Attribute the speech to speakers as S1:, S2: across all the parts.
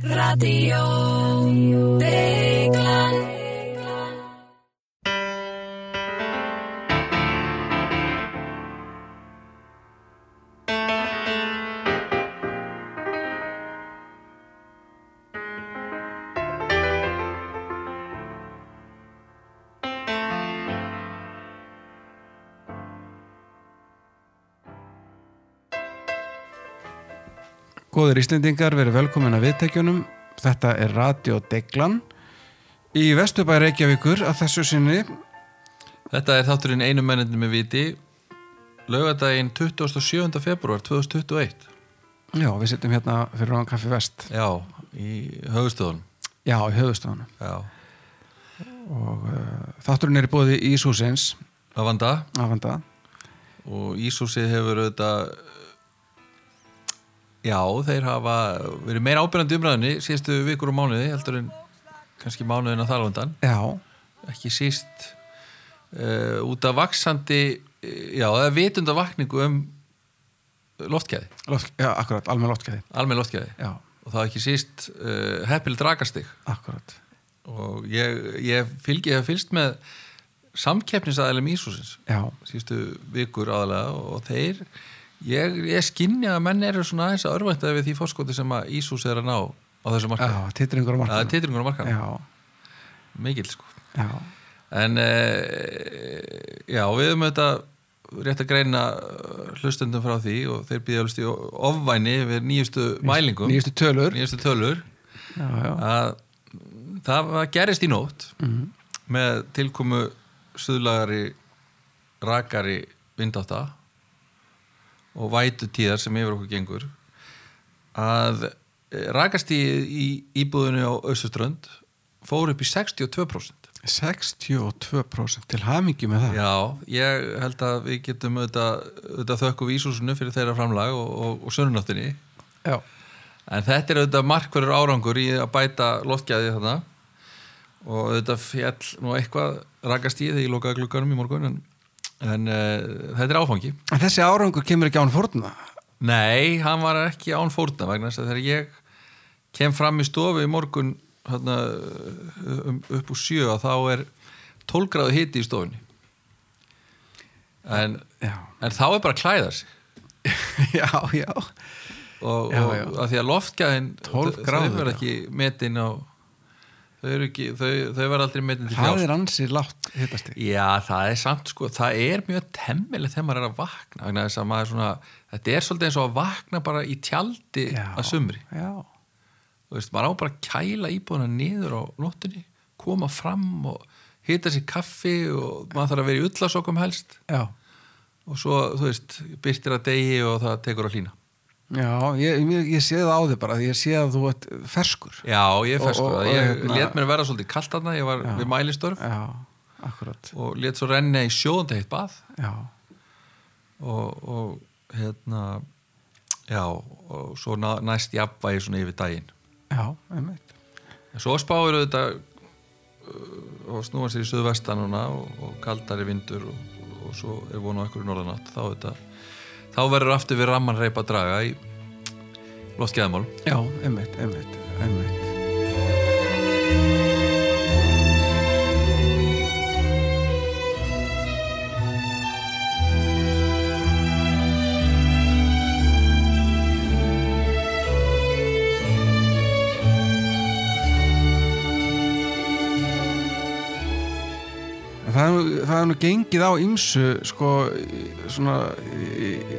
S1: Radio Deglan
S2: Góðir Íslendingar, verið velkomin að viðtækjunum. Þetta er Radio Deglan í Vesturbæ Reykjavíkur að þessu sinni.
S3: Þetta er þátturinn einu mennindin með viti Laugardaginn 27. februar 2021
S2: Já, við sittum hérna fyrir ráðan kaffi vest.
S3: Já, í högustöðunum
S2: Já, í höfustofan.
S3: Já,
S2: Og uh, þátturinn er í bóði Ísúsins,
S3: Lavanda
S2: afanda.
S3: og Ísúsið hefur auðvitað Já, þeir hafa verið meira ábyrjandi umræðinni síðustu vikur og mánuði heldur en kannski mánuðin að þalvandan
S2: Já,
S3: ekki síst uh, út af vaksandi já, það er vitundavakningu um loftgæði,
S2: loft, já, akkurat, almenn loftgæði.
S3: almenn loftgæði
S2: Já,
S3: og það er ekki síst uh, heppil dragastig
S2: akkurat.
S3: og ég, ég fylgi ég hef fylgst með samkeppnisæðilum Ísúsins
S2: Já,
S3: síðustu vikur aðalega og þeir ég, ég skinni að menn eru svona aðeins að örvænta við því fórskoti sem að Ísús er að ná á þessu
S2: já,
S3: markaði
S2: titringur á
S3: það er
S2: markanum.
S3: titringur á markaði,
S2: Já,
S3: mikill sko
S2: já,
S3: en e, já, við höfum þetta rétt að greina eh, hlustendum frá því og þeir býða hlust í ofvæni við nýjustu mælingum
S2: nýjustu tölur.
S3: nýjustu tölur
S2: já, já.
S3: að það var- gerist í nótt
S2: Mhm.
S3: með tilkomu suðlagari rakari vindáta og vætu tíðar sem yfir okkur gengur að rakastíð í íbúðinu á Össuströnd fór upp í 62%
S2: 62% til hamingi með það.
S3: Já, ég held að við getum auðvitað, auðvitað þökkum við Ísúsinu fyrir þeirra framlag og, og, og sunnunáttinni
S2: Já,
S3: En þetta er auðvitað markverður árangur í að bæta loftgæði þarna og auðvitað fjall nú eitthvað rakast í þegar ég lokaði glugganum í morgun en, en uh, þetta er áfangi.
S2: En þessi árangur kemur ekki án fórna.
S3: Nei, hann var ekki án fórna vegna þess að þegar ég kem fram í stofu í morgun hana, um, upp úr sjö að þá er 12 gráðu hiti í stofunni en,
S2: Já,
S3: en þá er bara að klæða sig
S2: já, já.
S3: og,
S2: Já,
S3: og
S2: já.
S3: að því að loftgæðin
S2: 12
S3: þau-
S2: gráður,
S3: þau
S2: já.
S3: verða ekki metin á þau, eru ekki, þau, þau verða aldrei metin til
S2: Það
S3: fjár
S2: er ansið látt hittast þig.
S3: já það er samt sko það er mjög temmileg þegar maður er að vakna vegna þess að maður er svona, þetta er svolítið eins og að vakna bara í tjaldi að sumri
S2: Já,
S3: þú veist, maður á bara að kæla íbúðuna niður á nóttunni, koma fram og hita sér kaffi og maður þarf að vera í ullasokum helst
S2: já.
S3: og svo, þú veist, byrtir að degi og það tekur að hlýna
S2: Já, ég, ég, ég sé það á þig bara, ég sé að þú ert ferskur.
S3: Já, ég
S2: Og-
S3: fæst
S2: og-
S3: sko.
S2: og
S3: Ég
S2: hérna-
S3: let mér vera svolítið kalt aðna, ég var við mælistörf
S2: Já, akkurat.
S3: og let svo renna í sjóðandi heitt bað
S2: Já,
S3: og, og hérna, já, og svo ná- næst jafnvægi svona yfir daginn.
S2: já, einmitt.
S3: En svo spáir auðvitað uh, og snúar sér í söðvestan núna og, og kaldari vindur og, og svo er vonu ekkur norðanátt, þá auðvitað, þá verður aftur við ramman reypa að draga í loftgeðamál.
S2: Já, einmitt, einmitt, einmitt. En Það er, nú, það er nú gengið á ymsu sko, í- svona í, í,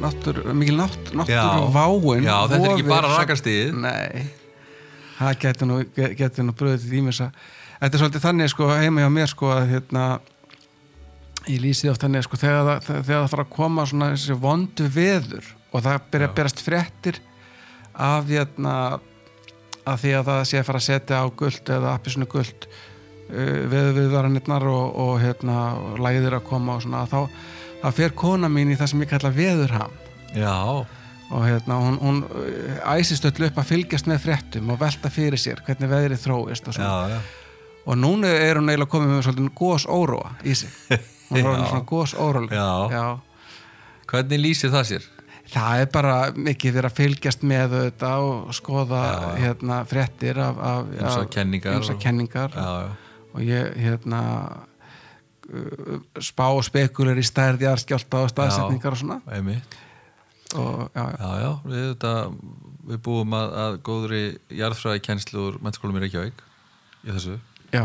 S2: náttúr, mikil nátt, náttúruváin
S3: Já, þetta er ekki
S2: vofir
S3: bara
S2: sem-
S3: rakastigið.
S2: Nei, það getur nú, getur nú bröðið til ímessa Þetta er svolítið þannig sko, heima hjá mér sko, að hérna ég lýsið oft þannig sko, þegar, það, þegar það fara að koma svona þessi vondu veður og það byrja að berast fréttir af hérna að því að það sé að fara að setja á guld eða appisinu guld uh, veðurviðvaranirnar og, og hérna og læðir að koma og svona þá, þá fer kona mín í það sem ég kalla veðurham
S3: Já,
S2: og hérna hún, hún eh, æsist öll upp að fylgjast með fréttum og velta fyrir sér hvernig veðrið þróist og, svona.
S3: já.
S2: og núna er hún eiginlega komið með svolítið gós óróa í sig hún er orðin svona gós óróleg
S3: Já. Hvernig lýsir það sér?
S2: það er bara mikið verið að fylgjast með þetta og skoða hérna, fréttir af, af,
S3: Ýmsar
S2: af
S3: kenningar
S2: ýmsar
S3: og-
S2: kenningar
S3: já, já.
S2: og ég hérna uh, spá og spekulir í stærði aðskjálta og staðsetningar og svona
S3: einmitt
S2: og, já, já.
S3: já, já, við, þetta, við búum að, að góðri jarðfræði kennslu úr mennskólum í Reykjavík í þessu
S2: Já.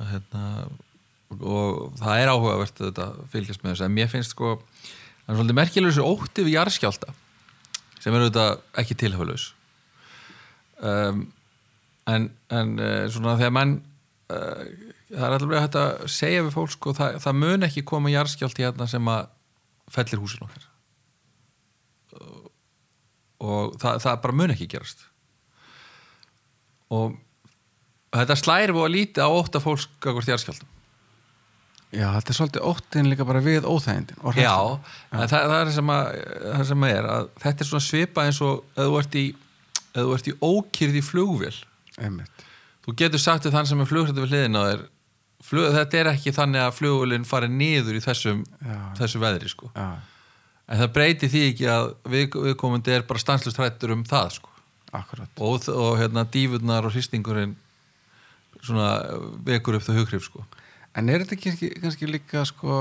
S3: að, hérna, og það er áhugavert að þetta fylgjast með þessu en mér finnst sko það er svolítið merkilegur þessu ótti við jarðskjálta sem eru þetta ekki tilhauðlaus um, en, en eh, svona þegar mann uh, það er allavega hægt að segja við fólk sko það, það mun ekki koma jarðskjálti hérna sem að fellir húsin okkar og það, það bara mun ekki gerast og þetta slæri og að líti á ótta fólk gagvart jarðskjáltum
S2: já, þetta er svolítið óttin líka bara við óþægindin og hræðslan.
S3: Já, en það, það er sem að, það sem að er að þetta er svona svipa eins og ef þú ert í, ef þú ert í ókýrð í flugvél
S2: Einmitt.
S3: þú getur sagt við þann sem er flugrættu við hliðin á þér flug, þetta er ekki þannig að flugvélinn fari niður í þessum,
S2: Já.
S3: þessu veðri sko.
S2: Já,
S3: en það breyti því ekki að við, viðkomandi er bara stanslust hrættur um það sko.
S2: akkurat
S3: og, og hérna dífurnar og hristingurinn svona vekur upp það hughrif sko.
S2: En er þetta ekki, kannski líka sko,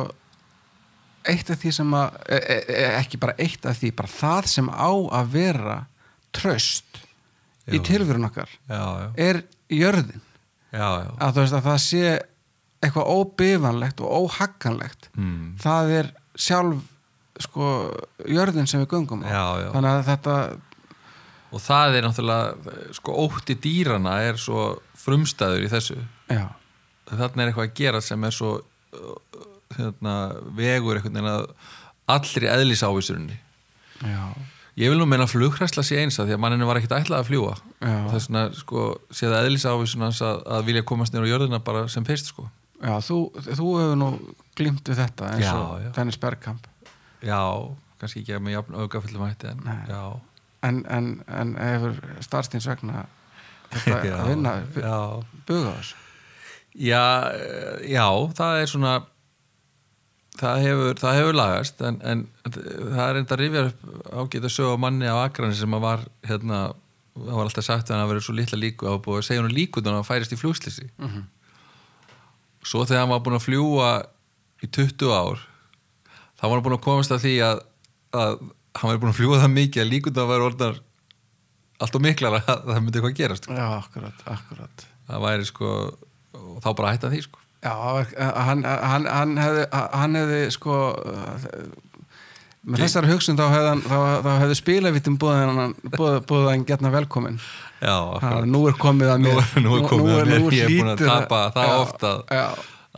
S2: eitt af því sem að e, e, e- ekki bara eitt af því bara það sem á að vera tröst í
S3: Jú.
S2: tilvörun okkar
S3: já, já,
S2: er jörðin
S3: já, já.
S2: að þú veist að það sé eitthvað óbifanlegt og óhagganlegt
S3: Mm.
S2: það er sjálf sko jörðin sem við göngum á
S3: Já, já.
S2: þannig að þetta
S3: og það er náttúrulega sko ótti dýrana er svo frumstæður í þessu
S2: já,
S3: þarna er eitthvað að gera sem er svo uh, hérna, vegur einhvern veginn að allri eðlisávísurinni
S2: já,
S3: ég vil nú meina að flughræsla sé eins að því að manninu var ekkit ætlað að fljúa
S2: Já.
S3: og þess vegna sko séð eðlisávísun hans að, að vilja komast nýra á jörðina bara sem fyrst sko
S2: já þú, þú hefur nú glimt við þetta eins
S3: Já,
S2: og
S3: já.
S2: Dennis Bergkamp
S3: já, kannski ekki með jafn augafullum hætti en
S2: Nei.
S3: já,
S2: en, en, en hefur starfstins vegna þetta
S3: Já,
S2: að vinna bu-
S3: já.
S2: buga á þessu
S3: Já, eh, já, það er svona það hefur, það hefur lagast en, en það er enda rifjar upp ágæta sög á manni á Akrani sem að var hérna, það var alltaf sagt að hann hafi verið svo litla líku að hafa búið að segja hann líkut að hann færist í flugslýsi svo þegar hann var búin að fljúa í 20 ár þá var hann búin að komast að því að, að hann var búin að fljúa það mikið að líkut að vera orðnar allt og miklar að það myndi eitthvað gerast
S2: já, akkurat, akkurat
S3: það væri sko, og þá bara hætta því sko
S2: já, að hann, að hann, hann hefði að hann hefði sko að- með þessari hugsun þá hefði, hann- þá, þá hefði spilavítum búðan búðan getna velkomin
S3: Já,
S2: Ha,
S3: akkurat.
S2: nú er komið að
S3: nú,
S2: mér
S3: nú er komið að mér,
S2: nú
S3: ég er búin að
S2: hlýtur
S3: tapa það
S2: já,
S3: oft að
S2: já,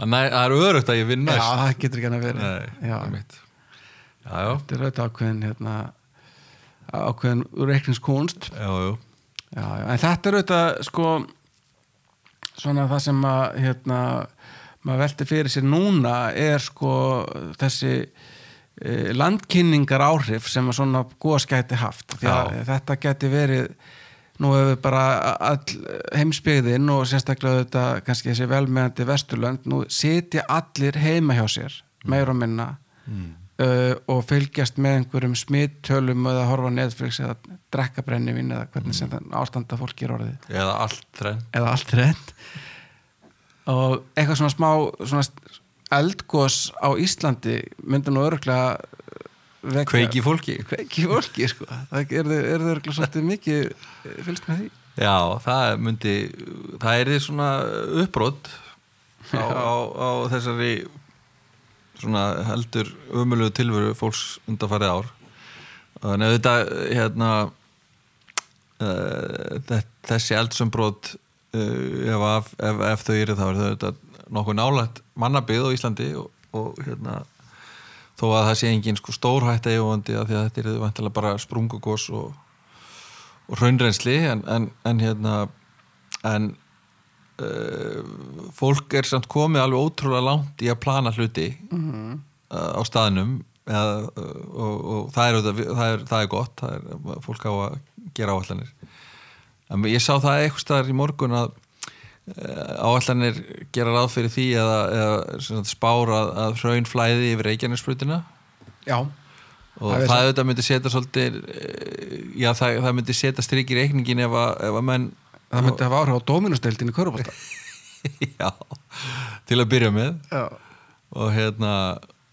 S3: að næ- það er örugt að ég vinn
S2: já,
S3: næst
S2: það getur ekki hann að vera
S3: Nei,
S2: já,
S3: það er mitt Já, já,
S2: þetta er auðvitað ákveðin hérna, ákveðin reikningskunst
S3: já, já,
S2: já, já, en þetta er auðvitað sko svona það sem að hérna, maður velti fyrir sér núna er sko þessi eh, landkynningar áhrif sem að svona góðs gæti haft því að
S3: Já.
S2: þetta gæti verið nú hefur bara all, heimsbyggðin og sérstaklega þetta kannski þessi velmeðandi vesturlönd nú sitja allir heima hjá sér
S3: Mm.
S2: meir og minna uh, og fylgjast með einhverjum smittölum eða horfa á Netflix eða drekka brennivín eða
S3: Mm.
S2: hvernig sem þann ástanda fólki er orðið
S3: eða allt þrenn
S2: eða allt reynd og eitthvað svona smá svona eldgós á Íslandi myndi nú öruglega vekja-
S3: Kveiki í fólki
S2: kveiki í fólki sko. það er þau öruglega svolítið mikið eh, fylgst með því
S3: Já, það myndi það er því svona uppbrot á, á, á þessari svona heldur ömulegu tilveru fólks undanfarið ár en þetta hérna uh, þe- þessi eldsumbrot uh, ef, af, ef, ef þau eru þá er þetta nokkuð nálægt mannabið á Íslandi og, og hérna þó að það sé engin sko stórhætt eiguvandi af því að þetta eru vantilega bara sprungugos og, og raunrensli en, en, en hérna en uh, fólk er samt komið alveg ótrúlega langt í að plana hluti uh, á staðnum eða, uh, og, og það, er, auðvitað- það, er, það er gott það er, fólk á að gera áallanir en ég sá það eitthvað staðar í morgun að uh, áallanir gera ráð fyrir því eða, eða sem sagt, spár að, að hraun flæði yfir Reykjanesbrutina
S2: já,
S3: og
S2: Það er
S3: það, það auðvitað myndi setja svolítið eh, já það, það myndi setja strik í reikningin ef að, ef að menn
S2: það myndi hafa áhrif á dóminusteldin í Körbólta
S3: já, til að byrja með
S2: já,
S3: og hérna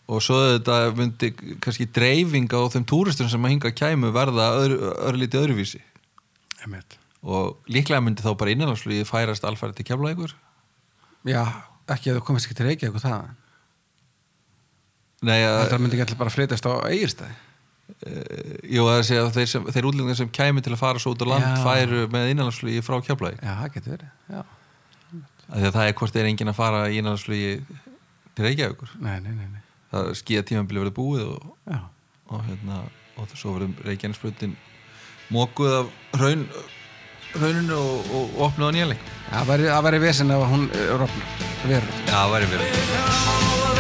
S3: og svo þetta myndi kannski dreifing á þeim túristum sem að hinga kæmu verða öðru, örlítið öðruvísi
S2: einmitt
S3: og líklega myndi þá bara innanlandsflugið færast alfæri til kemla
S2: já, ekki að þú komist ekki til reykja eitthvað það
S3: Nei, að, eh,
S2: þetta myndi ekki allir bara flytast á eigirstæði
S3: jú, að segja, að þeir, sem, þeir útlendingar sem kæmi til að fara svo út á land
S2: Já.
S3: færu með innanlandsflugi frá keflaði
S2: já, það getur verið já.
S3: Af því að það er hvort er enginn að fara í innanlandsflugi til Reykjavíkur
S2: nei, nei, nei, nei.
S3: það skýja tímabili verið búið og,
S2: já,
S3: og hérna og svo verið Reykjanesbrutin mókuð af raun, rauninu og, og opnuð á nýjanleik
S2: það væri- það væri vesinn ef hún eh, rofnar, það verður
S3: Já, það væri verið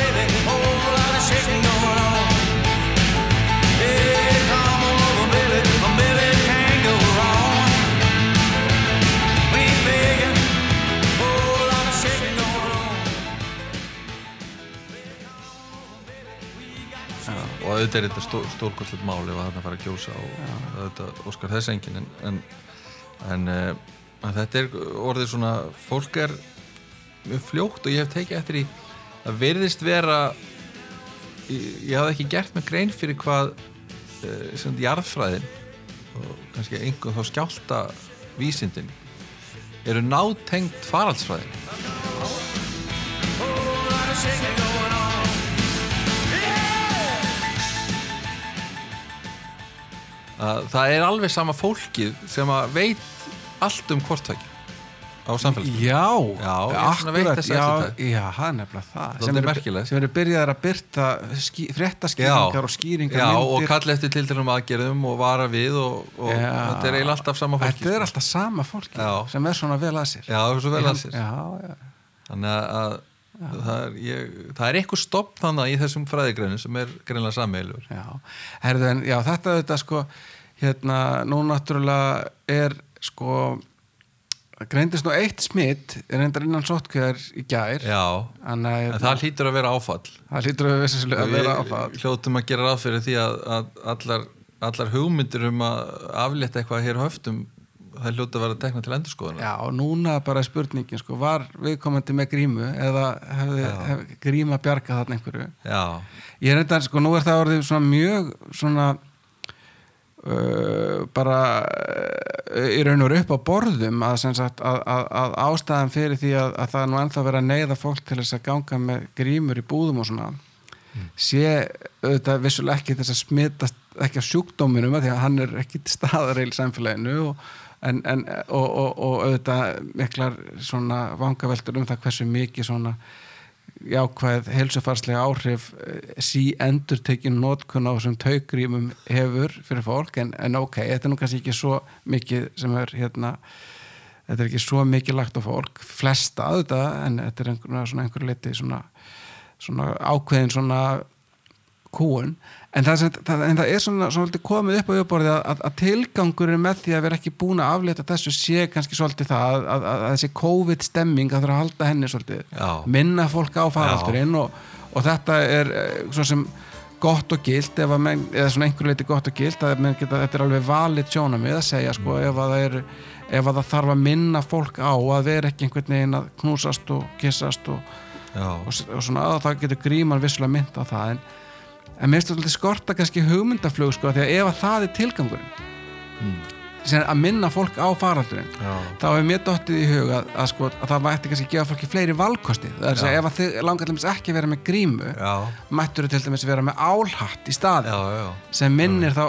S3: og auðvitað er þetta stór, stórkostlegt mál ef að þarna fara að gjósa og auðvitað óskar þess enginn en, en, en, eh, en þetta er orðið svona fólk er mjög fljótt og ég hef tekið eftir í að virðist vera ég, ég hafði ekki gert með grein fyrir hvað eh, sem þetta jarðfræðin og kannski einhver þá skjálta vísindin eru nátengt faraldsfræðin að það er alveg sama fólkið sem að veit allt um hvort tveggja á samfélagsmiðlum
S2: Já,
S3: Já, ég er svona veitt
S2: akkurat,
S3: þess
S2: já,
S3: eftirtækt.
S2: já, það er nefnilega það
S3: Dálítið
S2: sem eru,
S3: merkilegt.
S2: sem eru byrjaðar að byrta skí, fréttaskýringar og skýringar
S3: já, og
S2: myndir.
S3: kalla eftir tilteknum aðgerðum og vara við og, og
S2: Já.
S3: þetta er eiginlega alltaf sama fólki
S2: Þetta er alltaf sama fólki
S3: Já.
S2: sem er svona vel að sér
S3: já, það er svo vel að sér
S2: Já, já,
S3: þannig að, að það, er, ég, það er eitthvað stopp þannig í þessum fræðigreinum sem er greinlega sammeilur
S2: já. Herðu, en, já þetta auðvitað sko hérna, nú náttúrulega er sko greindist nú eitt smitt reyndar innan sótkvæðar í gær
S3: já,
S2: Þannig að
S3: en
S2: hérna,
S3: það hlýtur að vera áfall
S2: það hlýtur að við að vera á það
S3: við hljótum að gera ráð fyrir því að, að allar, allar hugmyndir um að aflétta eitthvað hér á höftum það hljóta að vera tekna til endurskoðunar
S2: Já, og núna bara er spurningin sko, var viðkomandi með grímu eða hefði hef, gríma bjargað þarna einhverju
S3: já,
S2: ég er þetta, sko, nú er það orðið svona mjög svona uh, bara uh, í raun og veru upp á borðum að, sem sagt, að, að, að ástæðan fyrir því að, að það er nú ennþá verið að neyða fólk til þess að ganga með grímur í búðum og svona sé auðvitað vissulega ekki þess að smitast ekki af sjúkdóminum að því að hann er ekki til staðar í samfélaginu og, en, en, og, og, og auðvitað miklar svona vangaveltur um það hversu mikið svona jákvæð heilsufarslega áhrif eh, sí endur tekin nótkun á þessum taugrímum hefur fyrir fólk en, en ok, þetta er nú kannski ekki svo mikið sem er hérna þetta er ekki svo mikið lagt á fólk flesta auðvitað en þetta er einhverja svona einhverju liti svona, svona ákveðin svona kúun en það, sem, það, en það er svona, svona svolítið komið upp á yfirborðið að, að, að tilgangurinn með því að vera ekki búin að afleita þessu sé kannski svolítið það að, að, að þessi COVID-stemming að það að halda henni svolítið
S3: Já.
S2: minna fólk á faraldurinn og, og þetta er eh, svo sem gott og gilt ef að menn, eða svona einhverju leiti gott og gilt að menn geta, þetta er alveg valið sjónamið að segja sko ef að það er ef að það þarf að minna fólk á að vera ekki einhvern veginn að knúsast og kissast og,
S3: já,
S2: og, s- og svona að það getur gríman vissulega mynd á það en, en mér stóð skorta kannski hugmyndaflug sko því að ef að það er tilgangurinn sem er að minna fólk á faraldurinn
S3: Hmm. já.
S2: þá hefur mér dottið í hug að, að, sko, að það mætti kannski gefa fólki fleiri valkosti það er að segja ef að þið langar til dæmis ekki að vera með grímu
S3: Já,
S2: mættur til dæmis vera með álhatt í staði
S3: já, já.
S2: sem minnir þá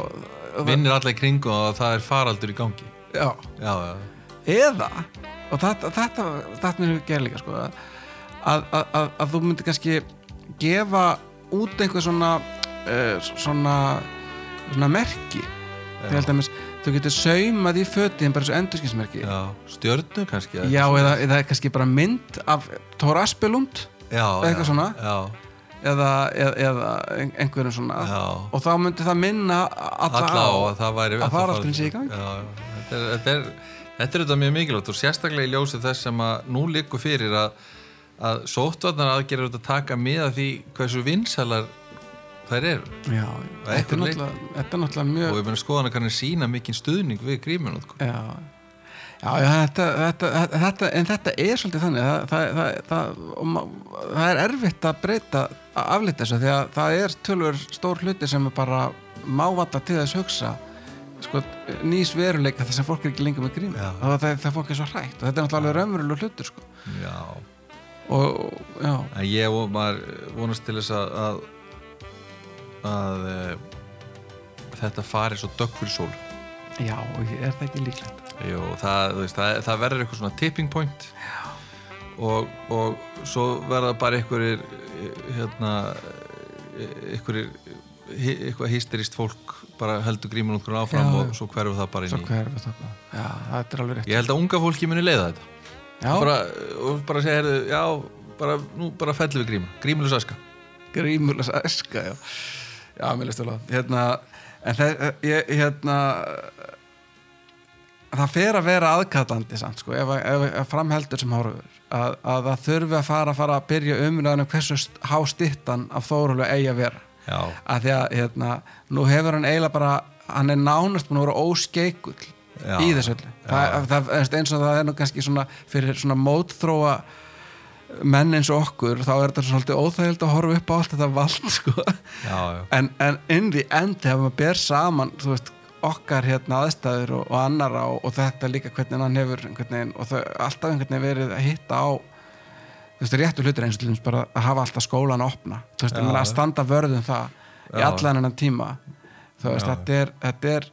S3: Vinnir alla í kringum og það er faraldur í gangi.
S2: já,
S3: Já, já.
S2: eða og þetta, þetta, þetta mér hefur gerð líka sko, að, að, að, að þú myndir kannski gefa út einhver svona uh, svona, svona merki til dæmis, þú getur saumað í fötin bara þessu endurskinsmerki
S3: já. Stjörnu kannski? eða-
S2: Já, eða, eða kannski bara mynd af Thor Aspelund
S3: já.
S2: eitthvað
S3: já,
S2: svona.
S3: Já,
S2: eða, eða, eða ein- einhverjum svona
S3: já.
S2: og þá myndi það minna alla,
S3: Alla á að það væri...
S2: að faraldurinn sé í gangi.
S3: Já, já. Þetta er, þetta er, þetta er þetta mjög mikilvægt og sérstaklega í ljósi þess sem að nú liggur fyrir að, að sóttvarnar aðgerður þetta taka með að því hversu vinsælar þær eru
S2: já,
S3: Að
S2: þetta er
S3: einhverju
S2: náttúrulega, þetta er náttúrulega
S3: og
S2: mjög
S3: ég meina skoðan að kannin sína mikinn stuðning við grímunotkun
S2: já, já, já þetta, þetta, þetta en þetta er svolítið þannig það, það, það, það, og ma- það er erfitt að breyta að aflita þessu því að það er tölur stór hluti sem er bara mávata til þess hugsa sko, nýs veruleika þess að fólk er ekki lengur með grín
S3: Já.
S2: það, það, það fólk er svo hrætt og þetta er náttúrulega alveg raunverulega hlutur sko.
S3: já,
S2: og, og já,
S3: en ég vo- maður eh, vonast til þess að að, að e, þetta fari svo dökk fyrir sól
S2: já, og er það ekki líklegt
S3: Jú, það, þú veist, það, það verður eitthvað svona tipping point og, og svo verða bara einhverjir hérna einhverjir eitthvað hysterist fólk bara heldur grímun okkur áfram
S2: Já,
S3: og
S2: já.
S3: svo hverfu það bara
S2: svo
S3: inn í
S2: hver við það já, þetta er alveg rétt
S3: ég held að unga fólki muni leiða þetta
S2: já,
S3: bara, og bara segja, heyrðu, já bara, nú bara fellum við gríma, grímulis aska
S2: grímurlega æska já, já mér leist vel á það. hérna, en það ég, hérna það fer að vera aðkallandi samt sko, ef, að- ef, ef framheldur sem horfur að, að það þurfi að fara, fara að byrja umræðinu hversu st- há stittan af Þórólfu eigi að vera
S3: já,
S2: að því að hérna, nú hefur hann eiginlega bara hann er nánast búin að vera óskeikull
S3: Já.
S2: í þessu öllu það, það, eins og það er nú kannski svona fyrir svona mótþróa menn eins og okkur þá er þetta svolítið óþægild að horfa upp á allt þetta vald sko.
S3: já, já
S2: en, en in the end ef maður ber saman þú veist, okkar hérna aðstæður og, og annara og, og þetta líka hvernig hann hefur einhvern veginn, og það, alltaf einhvern veginn verið að hitta á þú veist, réttu hlutur eins og til dæmis bara að hafa alltaf skólan að opna þú veist,
S3: Já.
S2: ég meina að standa vörðum það í
S3: Já.
S2: allan hennan tíma þú veist, þetta er, þetta er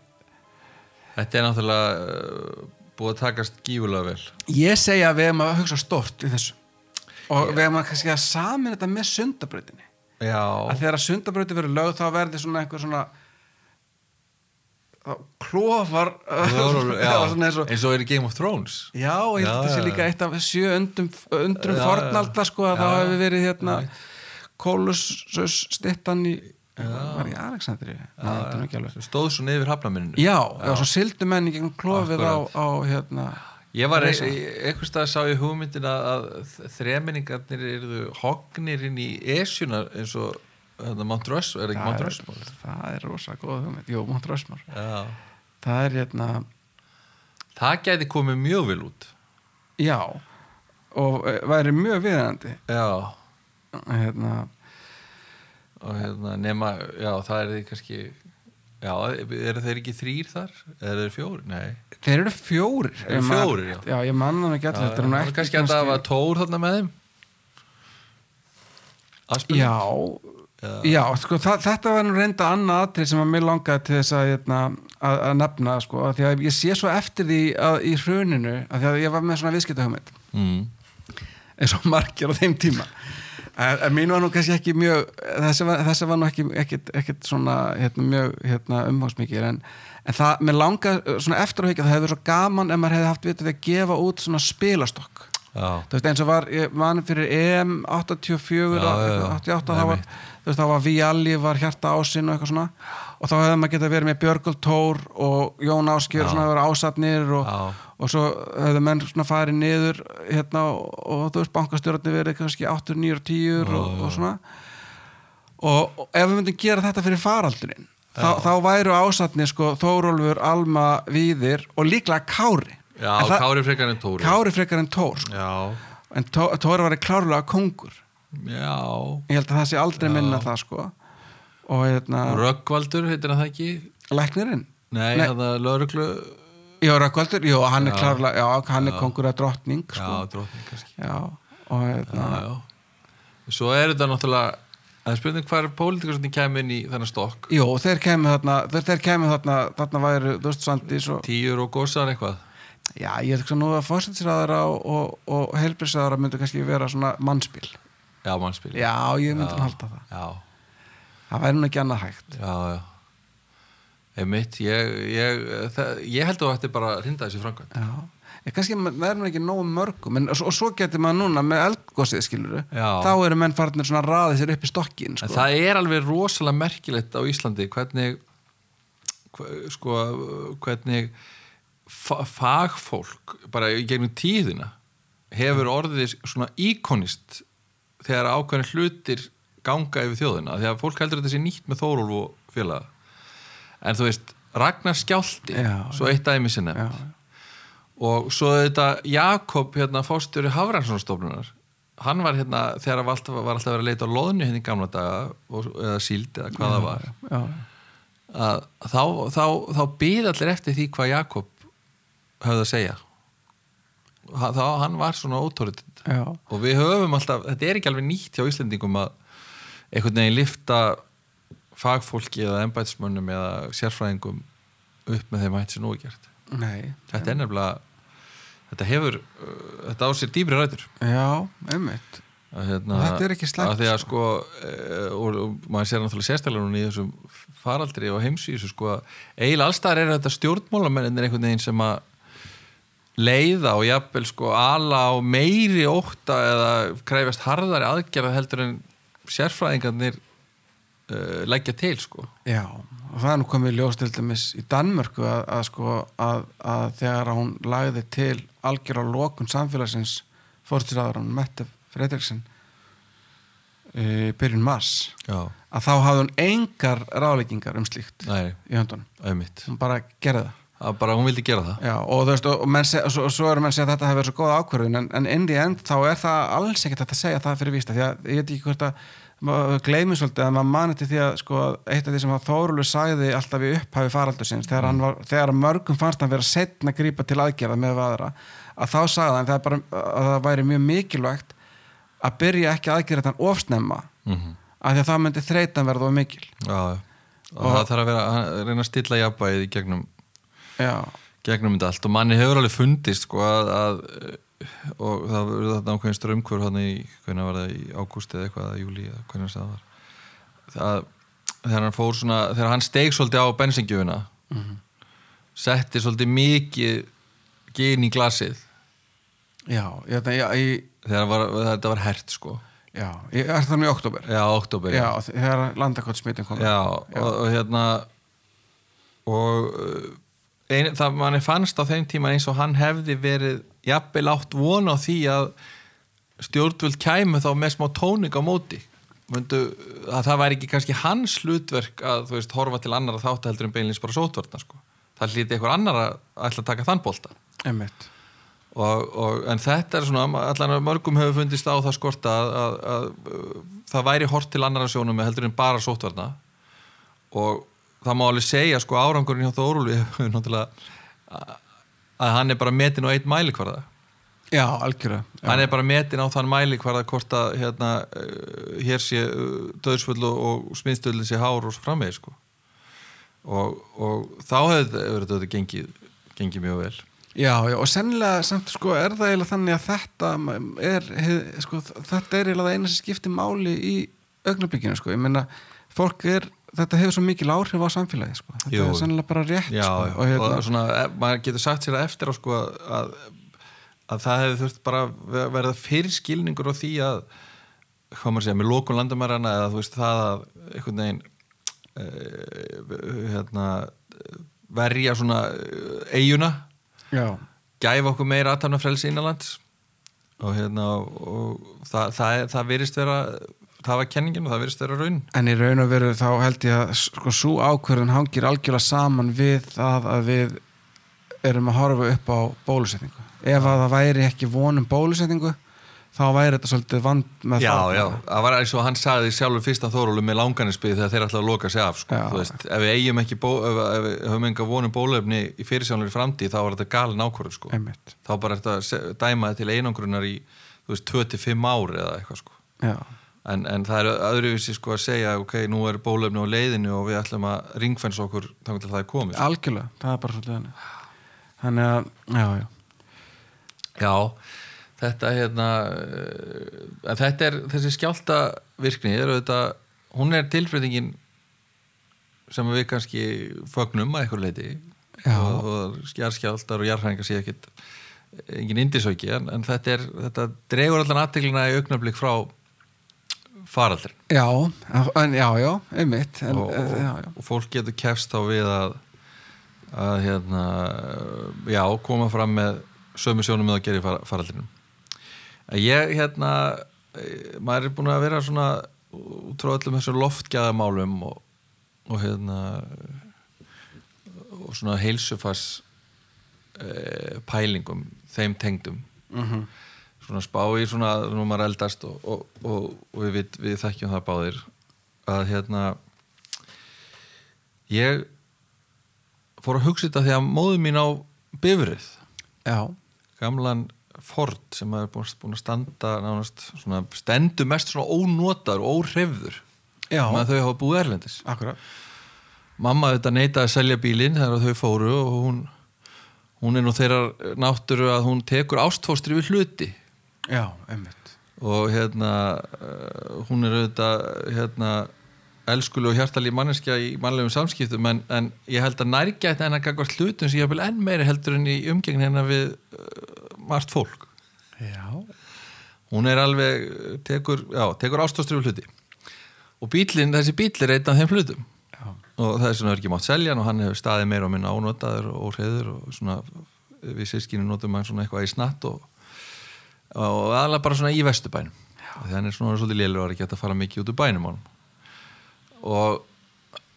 S3: Þetta er náttúrulega uh, búið að takast gífulega vel
S2: ég segja að við erum að hugsa stort í þessu og við erum að kannski að samin þetta með sundabrautinni
S3: Já,
S2: að þegar sundabrauti verður lög þá verður svona einhver svona þá klofar
S3: Þórólfur, já.
S2: Já, svona eins og
S3: eins og er í Game of Thrones
S2: Já, og ég held
S3: Já,
S2: að það sé
S3: já,
S2: líka eitt af sjö undrum, undrum
S3: Já, já.
S2: fornalda sko að
S3: Já,
S2: þá
S3: já.
S2: hefur verið hérna Kólusus stittan í var í Aleksandri Já,
S3: sem stóð svo niður hafnaminninu
S2: já, já, svo sildu menn í gegnum klofið á,
S3: Akkurat.
S2: á hérna
S3: Ég var, e- e- einhvers stað sá ég hugmyndin að, að þremenningarnir eru hognir inn í esjuna eins og þetta Mount Rushmore, er það ekki Mount Rushmore?
S2: það er rosa góð hugmynd, jú, Mount Rushmore
S3: Já,
S2: það er hérna,
S3: það gæti komið mjög vel út
S2: já og eh, væri mjög viðandi
S3: Já,
S2: hérna,
S3: og hérna nema, já það er þið kannski Já, eru þeir ekki þrýr þar? Eða eru þeir fjóri? Nei
S2: þeir eru fjórir
S3: Þeir eru
S2: ég man-
S3: fjórir, já.
S2: já, ég manna hann ekki allir þetta er nú
S3: Það er
S2: ekki
S3: kannski að það var tór þarna með þeim Aspil
S2: Já, já sko, þa- þetta var nú reynda annað atrið sem að mér langaði til þess að, hérna, að, að nefna sko, að því að ég sé svo eftir því að, í hruninu, að því að ég var með svona viðskiptahugmynd
S3: mm.
S2: eins og margir á þeim tíma en, en mín var nú kannski ekki mjög þessi var, þessi var nú ekki ekkit, ekkit svona hérna, mjög hérna, umfangsmikið en, en það, mér langaði svona eftir að hugja það hefði verið svo gaman ef maður hefði haft vitið að gefa út svona spilastokk
S3: Já,
S2: þú veist eins og var ég man fyrir EM 84
S3: Já, já, já.
S2: 88
S3: Nei,
S2: þá var,
S3: mitt.
S2: þú veist þá var Vialli var hjarta ásinn og eitthvað svona og þá hefði maður getað verið með Björgul Tór og Jón Áskjör svona verið ásatnir og,
S3: Já.
S2: og svo hefði menn svona farið niður hérna og, og þú veist bankastjórnarnir verið kannski 8, 9 og 10 og, og svona og, og ef við myndum gera þetta fyrir faraldurinn þá, þá væru ásatnir sko Þórólfur, Alma, Víðir og líklega Kári
S3: já
S2: En það-
S3: Kári frekar en Tóri
S2: Kári frekar en Tór sko
S3: Já,
S2: en Tó- Tóra var klárlega kongur
S3: já
S2: ég held að það sé aldrei minna það sko og hérna,
S3: Röggvaldur heitir hann það ekki
S2: læknirinn
S3: Nei,
S2: Nei.
S3: Nei. það lögreglu
S2: Jó, Rökkvaldur, jú, hann er klárlega já, hann er kongur að drottning
S3: Já,
S2: sko.
S3: dróttin kannski
S2: já. og hérna
S3: Já, já Svo er þetta náttúrulega Það er spurning hvar pólitikarsöndin kemur inn í þennan stokk
S2: Jú, þeir kemur þarna, þeir, þeir kemur þarna, þarna væru, þú veist, Svandís og,
S3: Tíur og gósar eitthvað
S2: já, ég hugsa nú að fórsættisraðara og, og, og helbriðsraðara myndu kannski vera svona mannspil.
S3: Já, mannspil
S2: Já, ég myndi nú halda það.
S3: Já,
S2: Það væri nú ekki annað hægt.
S3: já, já Einmitt, ég, ég, það, ég held að þetta er bara að rinda þessi framkvæmt
S2: Já. Ég, kannski ma- verður maður ekki nógu mörgum en, og, svo- og svo getur maður núna með eldgósið skilur
S3: Já.
S2: þá eru menn farnir svona að raði sér upp í stokkin
S3: En
S2: sko.
S3: það er alveg rosalega merkilegt á Íslandi hvernig hve- sko, hvernig fa fagfólk bara í gegnum tíðina hefur orðið svona íkonist þegar ákveðin hlutir ganga yfir þjóðina því að fólk heldur þetta sé nýtt með Þórólf og félaga en þú veist, Ragnar Skjálti
S2: Já,
S3: svo eitt dæmi sinni
S2: já,
S3: og svo þetta Jakob hérna, fórstjóri Hafranssonstofnunar hann var hérna, þegar var alltaf, var alltaf að vera að leita á loðnu hérna í gamla daga og, eða síld eða hvað það var
S2: já,
S3: að þá, þá, þá býð allir eftir því hvað Jakob höfði að segja Ha- þá hann var svona ótórit
S2: já,
S3: og við höfum alltaf, þetta er ekki alveg nýtt hjá Íslendingum að einhvern veginn lifta fagfólki eða embætismönnum eða sérfræðingum upp með þeim hætti sem nú er gert
S2: nei,
S3: þetta er nefnilega þetta hefur, uh, þetta á sér dýbri rætur
S2: já, einmitt,
S3: að hérna,
S2: Þetta er ekki slæmt,
S3: að því að sko eh, og, og maður sér náttúrulega sérstaklega núna í þessum faraldri og heimsvísu sko að eiginlega allstaðar er þetta stjórnmálamennir einhvern veginn sem að leiða og jafnvel sko ala á meiri ótta eða kræfjast harðari aðgerða heldur en sérfræðingarnir uh, leggja til sko
S2: já, og það er nú komið ljóstöldumis í Danmörku að, að sko að, að þegar hún lagði til algjör á lokun samfélagsins fórstýraður hún Mette Fredriksson e, byrjun mars
S3: já,
S2: að þá hafði hún engar ráleikingar um slíkt
S3: næri,
S2: í höndunum,
S3: auðvitað
S2: hún bara gerði það
S3: að bara hún vildi gera það
S2: Já, og þú veist, og, og, menn, se- og, svo, og svo eru menn að segja að þetta hefur verið svo góð ákvörðun en, en inn í end þá er það alls ekkert hægt að segja það fyrir vísta því að ég veit ekki hvort að maður gleymið svolítið að maður mani til því að sko, eitt af því sem að Þórulur sagði alltaf í upphafi faraldursins þegar, hann var, þegar mörgum fannst hann vera setna að grípa til aðgerða með aðra að þá sagði hann það bara, að það væri mjög mikilvægt að byrja ekki aðgerða þann ofsnemma
S3: mm -hmm.
S2: af því að það myndi þreytan verða of mikil
S3: já, já. og það þarf að vera að reyna að stilla jafnvægið í gegnum
S2: Já,
S3: gegnum þetta allt og manni hefur alveg fundist sko að, að eh, og það verður þetta ákveðin strömmkur hann í, hvernig var það í ágústi eða eitthvað eða júli eða hvernig það var það, þegar hann fór svona þegar hann steig svolítið á bensingjöfuna setti svolítið mikið gin í glasið
S2: já, ég, já, ég,
S3: þegar var, þetta var hert sko
S2: já, ég er þannig í oktober
S3: já, oktober
S2: Já, þegar landakot smitin kom
S3: já, Og, og hérna og uh, ein, það manni fannst á þeim tíma eins og hann hefði verið jafnvel átt von á því að stjórnvöld kæmu þá með smá tóning á móti Myndu, að það væri ekki kannski hans hlutverk að þú veist horfa til annara þáttaheldur en beinlins bara sótvarna sko. það hlýti einhver annar að ætla að taka þann bolta
S2: Einmitt.
S3: og, og, en þetta er svona allan að mörgum hefur fundist á það skorta að, að, að uh, það væri hort til annara sjónum heldur en bara sótverna og það má alveg segja sko árangurinn hjá Þórúli hefur náttúrulega a- að hann er bara metin á einn mælikvarða
S2: Já, algjörða
S3: hann er bara metin á þann mælikvarða hvort að hérna, uh, hér sé uh, döðsfull og, og sminnstöðlin sé hár og svo framvegis sko. og, og þá hefur þetta- hefur þetta gengið, gengið mjög vel
S2: Já, já, og sennilega samt sko er það eiginlega þannig að þetta er, hið- sko, þetta er eiginlega það eina sem skiptir máli í augnablikinu sko, ég meina, fólk er þetta hefur svo mikil áhrif á samfélagi sko þetta
S3: Jú.
S2: er sennilega bara rétt
S3: já,
S2: sko,
S3: og, og svona, e- maður getur sagt sér að eftir á sko að, að það hefði þurft bara að verða fyrirskilningur á því að hvað maður segja, með lókun landamærana eða þú veist það að einhvern veginn e, hérna, verja svona eh, eiguna,
S2: já,
S3: gæfa okkur meira aðtafnafrelsi innanlands og hérna og, og það, það, er- það virðist vera það var kenningin og það virðist vera raun
S2: en í raun og veru þá held ég að sko svo ákvörðun hangir algjörlega saman við það að við erum að horfa upp á bólusetningu ef að það væri ekki vonum bólusetningu þá væri þetta svolítið vand með
S3: Já,
S2: það
S3: já, það var eins og hann sagði sjálfur fyrsta þórólu með langanisbyð þegar þeir ætla að loka sig af sko.
S2: Já.
S3: Þú veist, ef við eigum ekki bó, ef, ef við höfum enga vonum bólefni í fyrirsjónlega framtíð þá var þetta galin ákvörður sko.
S2: einmitt,
S3: þá bara er þetta að se- dæma þetta til einangrunar í þú veist, 25 ár eða eitthvað sko.
S2: já,
S3: en, en það er öðruvísi sko, að segja ok, nú er bólefni á leiðinu og við ætlum að ringfens okkur þannig til það er komið sko.
S2: algjörlega, það er bara svolítið þannig þannig að, já, já
S3: Já, þetta hérna eh, en þetta er, þessi skjálta virkni, er auðvitað hún er tilbreytingin sem við kannski fögnum að eitthvað leiti
S2: Já.
S3: og, og skjálskjáltar og jarðhæringar sé ekkit engin indisauki en, en þetta, er, þetta dregur allan aðteglina í augnablik frá faraldrin
S2: Já, en, já, já, einmitt en,
S3: og,
S2: en, já, já.
S3: og fólk getur kefst þá við að að hérna já, koma fram með sömu sjónum með að gera í far, faraldrinum En ég hérna eh, maður er búin að vera svona út frá öllum þessum loftgæðamálum og, og hérna og svona heilsufars e, pælingum þeim tengdum
S2: Mhm.
S3: svona spá í svona nú maður eldast og, og, og, og við, vit- við þekkjum það báðir að hérna ég fór að hugsa þetta því að móðu mín á bifrið
S2: já,
S3: gamlan Ford sem er búin, búin að standa nánast svona, stendur mest svona ónotar og óhrefður
S2: Já.
S3: með þau hafa búið erlendis
S2: akkurat
S3: mamma þetta neitaði að selja bílinn þegar þau fóru og hún hún er nú þeirra náttúru að hún tekur ástfóstri við hluti
S2: já, einmitt
S3: og hérna eh, hún er auðvitað hérna elskuleg og hjartalí manneskja í mannlegum samskiptum en, en ég held að nærgætt hennar gagvart hlutum sem ég hafði enn meiri heldur en í umgengni hennar við uh, margt fólk
S2: já,
S3: hún er alveg, eh, tekur, já, tekur ástoströfu hluti og bílinn, þessi bíl er einn af þeim hlutum
S2: já,
S3: og það er svona ekki mátt selja hann og hann hefur staðið meira og minna ónotaður og óhreður og svona við sískinu notum hann svona eitthvað í snatt og, og aðalega bara svona í vesturbænum því hann er svona orðinn svolítið lélur og er ekki hægt að fara mikið út úr bænum honum og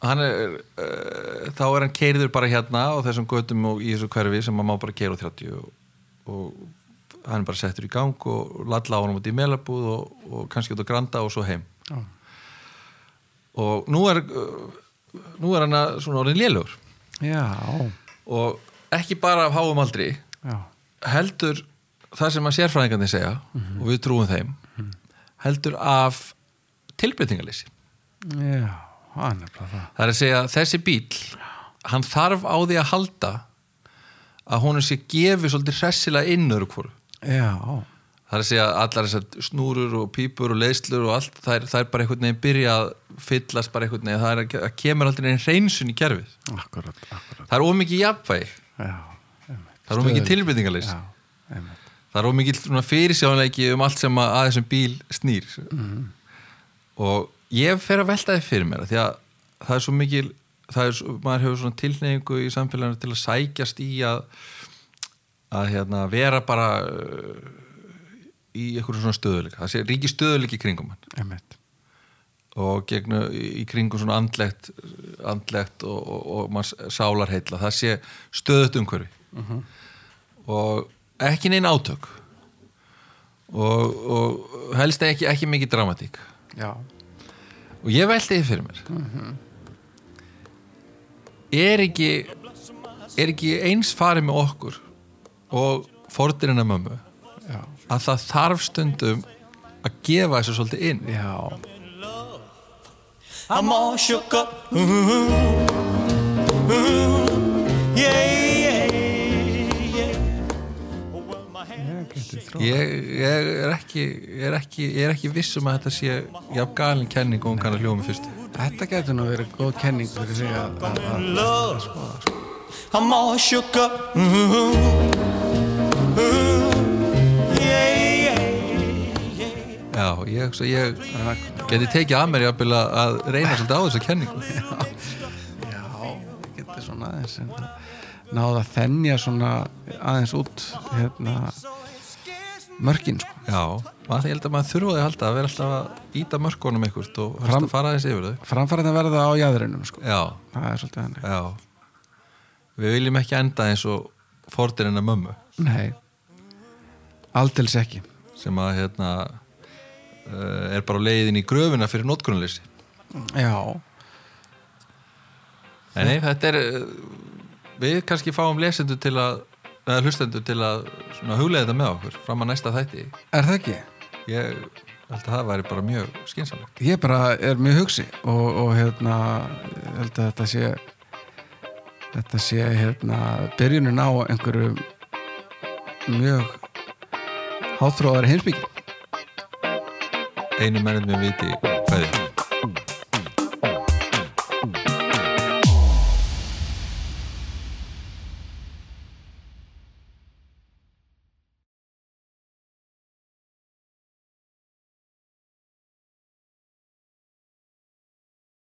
S3: hann er uh, þá er hann keiriður bara hérna á þessum götum og í þessu hverfi sem maður má bara keira á 30 og, og hann er bara settur í gang og lalla á hann út í melabúð og, og kannski út á granda og svo heim
S2: já,
S3: og nú er uh, nú er hann að svona orðin lélugur
S2: já,
S3: og ekki bara af háum aldri
S2: já.
S3: heldur það sem að sérfræðingarnir segja og við trúum þeim heldur af tilbreytingalýsi
S2: Já, það er nefnilega það.
S3: það er að segja að þessi bíl hann þarf á því að halda að honum sé gefið svolítið hressilega inn öru hvoru
S2: Já,
S3: það er að segja að allar þessar snúrur og pípur og leiðslur og allt það er, það er bara einhvern veginn byrja að fyllast bara einhvern veginn það er að, að kemur aldrei einn reynsun í kerfið
S2: akkurat, akkurat.
S3: það er ómikið jafnvægi
S2: Já, einmitt.
S3: það er ómikið tilbyrningalist
S2: Já, einmitt.
S3: það er ómikið svona fyrirsjáðanleiki um allt sem að, að þessum bíl snýr og ég fer að velta því fyrir mér því að það er svo mikil það er svo, maður hefur svona tilneyingu í samfélaginu til að sækjast í að að hérna vera bara uh, í einhverjum svona stöðuleika það sé ríki stöðuleiki í kringum hann
S2: Einmitt.
S3: og gegnu í í kringum svona andlegt, andlegt og, og, og maður sálar heilla það sé stöðut umhverfi og ekki neina átök og, og helst ekki, ekki mikið dramatík
S2: Já,
S3: og ég velti því fyrir mér er ekki er ekki eins farið með okkur og fordirina mömmu
S2: já,
S3: að það þarf stundum að gefa þessu svolítið inn
S2: já,
S1: I'm all shook up. Ooh, ooh, yeah, yeah, yeah. Well, my hand
S2: ég geti trú.
S3: ég, ég, er ekki, ég, er ekki, ég er ekki viss um að þetta sé jafn galin kenning og hún kann að hljóma fyrst
S2: Þetta getur nú verið góð kenning fyrir sig að, að, að
S1: love. I'm all shook up. Ooh, ooh, yeah, yeah, yeah.
S3: já, ég, svo ég geti tekið að mér jafnvel að- að reyna svolítið á þessa kenningu
S2: já, ég geti svona aðeins en, náða að þennja svona aðeins út hérna, mörkin sko.
S3: já, maður ég held að maður þurfaði að halda að vera alltaf að íta mörkunum einhvert og helst
S2: Fram-
S3: að fara aðeins yfir þau
S2: Framfæraðin verða á jæðrinum sko.
S3: já,
S2: Það er svolítið þannig.
S3: já við viljum ekki enda eins og fordirinn að mömmu
S2: Nei, aldils ekki.
S3: sem að hérna eh, er bara leiðin í gröfina fyrir notkunarleysi
S2: Já,
S3: Nei, nei, þetta er uh, við kannski fáum lesendur til að eða hlustendur til að svona huglega þetta með okkur fram að næsta þætti
S2: er það ekki?
S3: ég held að það væri bara mjög skynsamlegt
S2: Ég bara er mjög hugsi og, og hérna ég held að þetta sé þetta sé hérna byrjunin á einhverju mjög háþróðar heimsbyggi
S3: einu mennum við viti hvað er